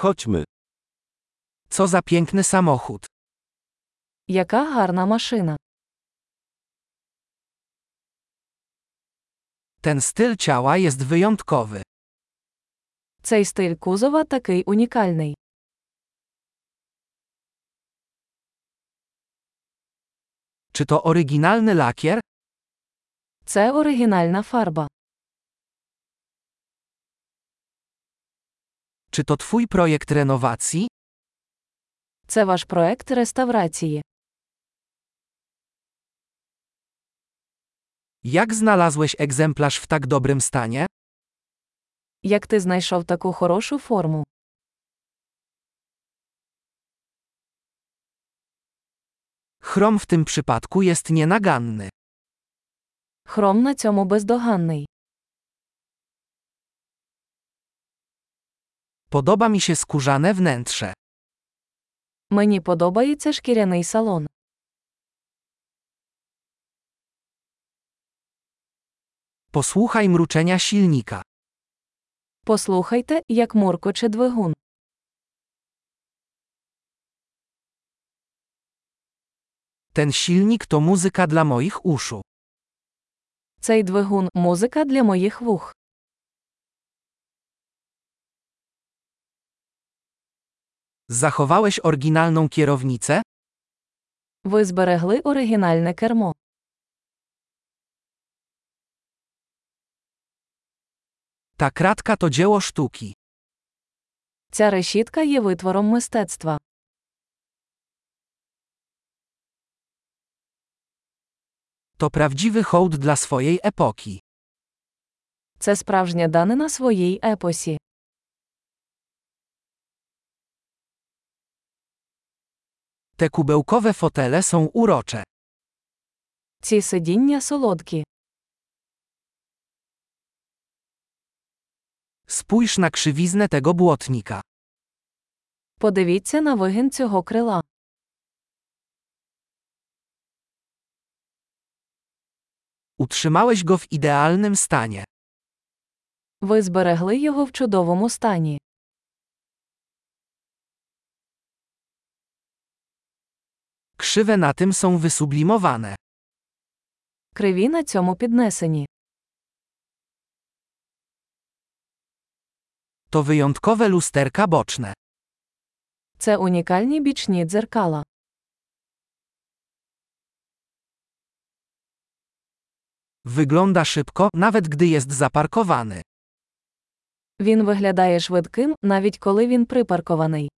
Chodźmy. Co za piękny samochód. Яка гарна машина. Ten styl ciała jest wyjątkowy. Цей стиль кузова такий унікальний. Czy to oryginalny lakier? Це оригінальна фарба. Czy to twój projekt renowacji? Це ваш проект реставрації. Jak znalazłeś egzemplarz w tak dobrym stanie? Як ти знайшов таку хорошу форму? Chrom w tym przypadku jest nienaganny. Хром на цьому бездоганний. Podoba mi się skórzane wnętrze. Мені подобається шкіряний салон. Posłuchaj mruczenia silnika. Послухайте, як муркоче двигун. Ten silnik to muzyka dla moich uszu. Цей двигун музика для моїх вух. Zachowałeś oryginalną kierownicę? Ви зберегли оригінальне кермо. Ta kratka to dzieło sztuki. Ця решітка є витвором мистецтва. To prawdziwy hołd dla swojej epoki. Це справжня данина своїй епосі. Te kubełkowe fotele są urocze. Ці сидіння солодкі. Spójrz na krzywiznę tego błotnika. Подивіться на вигін цього крила. Utrzymałeś go w idealnym stanie. Ви зберегли його в чудовому стані. Krzywe na tym są wysublimowane. Криві на цьому піднесені. To wyjątkowe lusterka boczne. Це унікальні бічні дзеркала. Wygląda szybko, nawet gdy jest zaparkowany. Він виглядає швидким, навіть коли він припаркований.